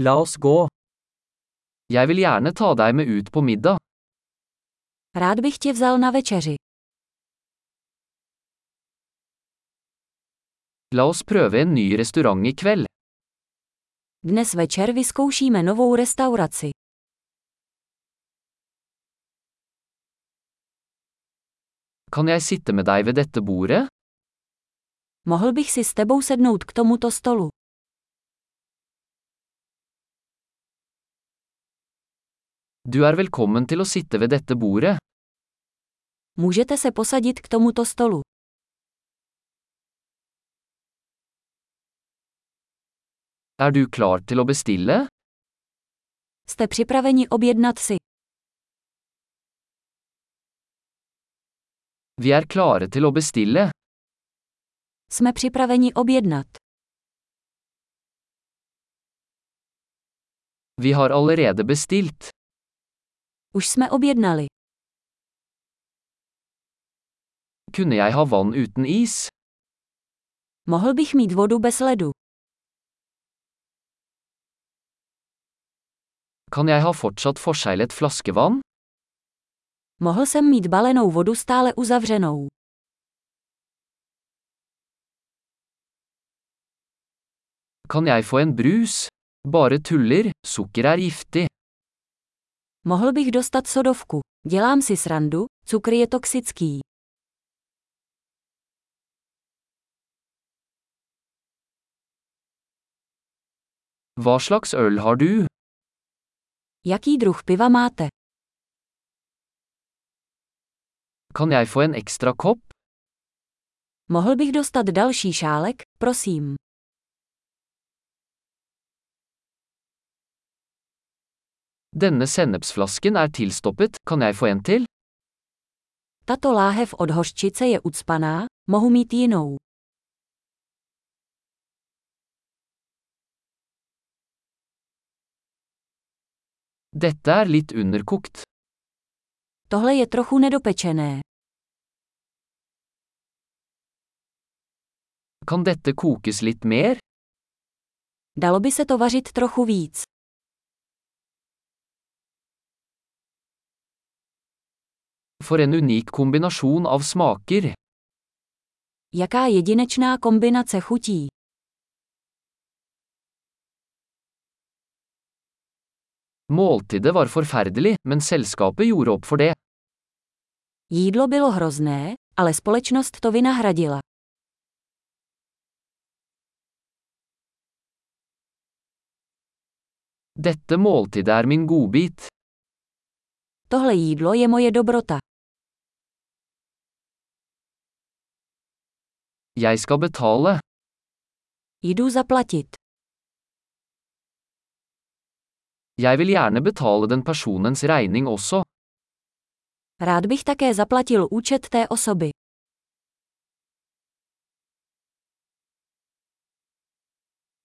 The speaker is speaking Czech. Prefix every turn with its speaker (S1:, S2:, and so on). S1: La oss gå. Jeg vil gjerne ta deg med ut på middag.
S2: Rád bych tě vzal na večeři.
S1: La oss prøve en ny restaurant i kveld.
S2: Dnes večer vyzkoušíme novou restauraci.
S1: Kan jeg sitte med deg ved dette bordet?
S2: Mohl bych si s tebou sednout k tomuto stolu.
S1: Du er velkommen til å sitte ved dette bordet.
S2: Můžete se posadit k tomuto stolu.
S1: Er du klar til å bestille?
S2: Jste připraveni objednat si.
S1: Vi er klare til å bestille.
S2: Jsme připraveni objednat.
S1: Vi har allerede bestilt.
S2: Už jsme objednali.
S1: Kunne jeg ha vann uten is?
S2: Mohl bych mít vodu bez ledu.
S1: Kan jeg ha fortsatt forseglet flaskevann?
S2: Mohl jsem mít balenou vodu stále uzavřenou.
S1: Kan jeg få en brus? Bare tuller, sukker er giftig.
S2: Mohl bych dostat sodovku. Dělám si srandu, cukr je toxický.
S1: Hva slags øl har du?
S2: Jaký druh piva máte?
S1: Kan jeg få en ekstra kopp?
S2: Mohl bych dostat další šálek, prosím.
S1: Denne sennepsflasken er tilstoppet, kan jeg få en til?
S2: Tato láhev od hořčice je ucpaná, mohu mít jinou.
S1: Dette er litt underkokt.
S2: Tohle je trochu nedopečené.
S1: Kan dette kokes litt mer?
S2: Dalo by se to vařit trochu víc.
S1: For en unik kombinasjon av smaker.
S2: Jaká jedinečná kombinace chutí.
S1: Måltidet var forferdelig, men selskapet gjorde opp for det.
S2: Jídlo bylo hrozné, ale společnost to vynahradila.
S1: Dette måltidet er min godbit.
S2: Tohle jídlo je moje dobrota.
S1: Jeg skal betale.
S2: Jdu zaplatit.
S1: Jeg vil gjerne betale den personens regning også.
S2: Rád bych také zaplatil účet té osoby.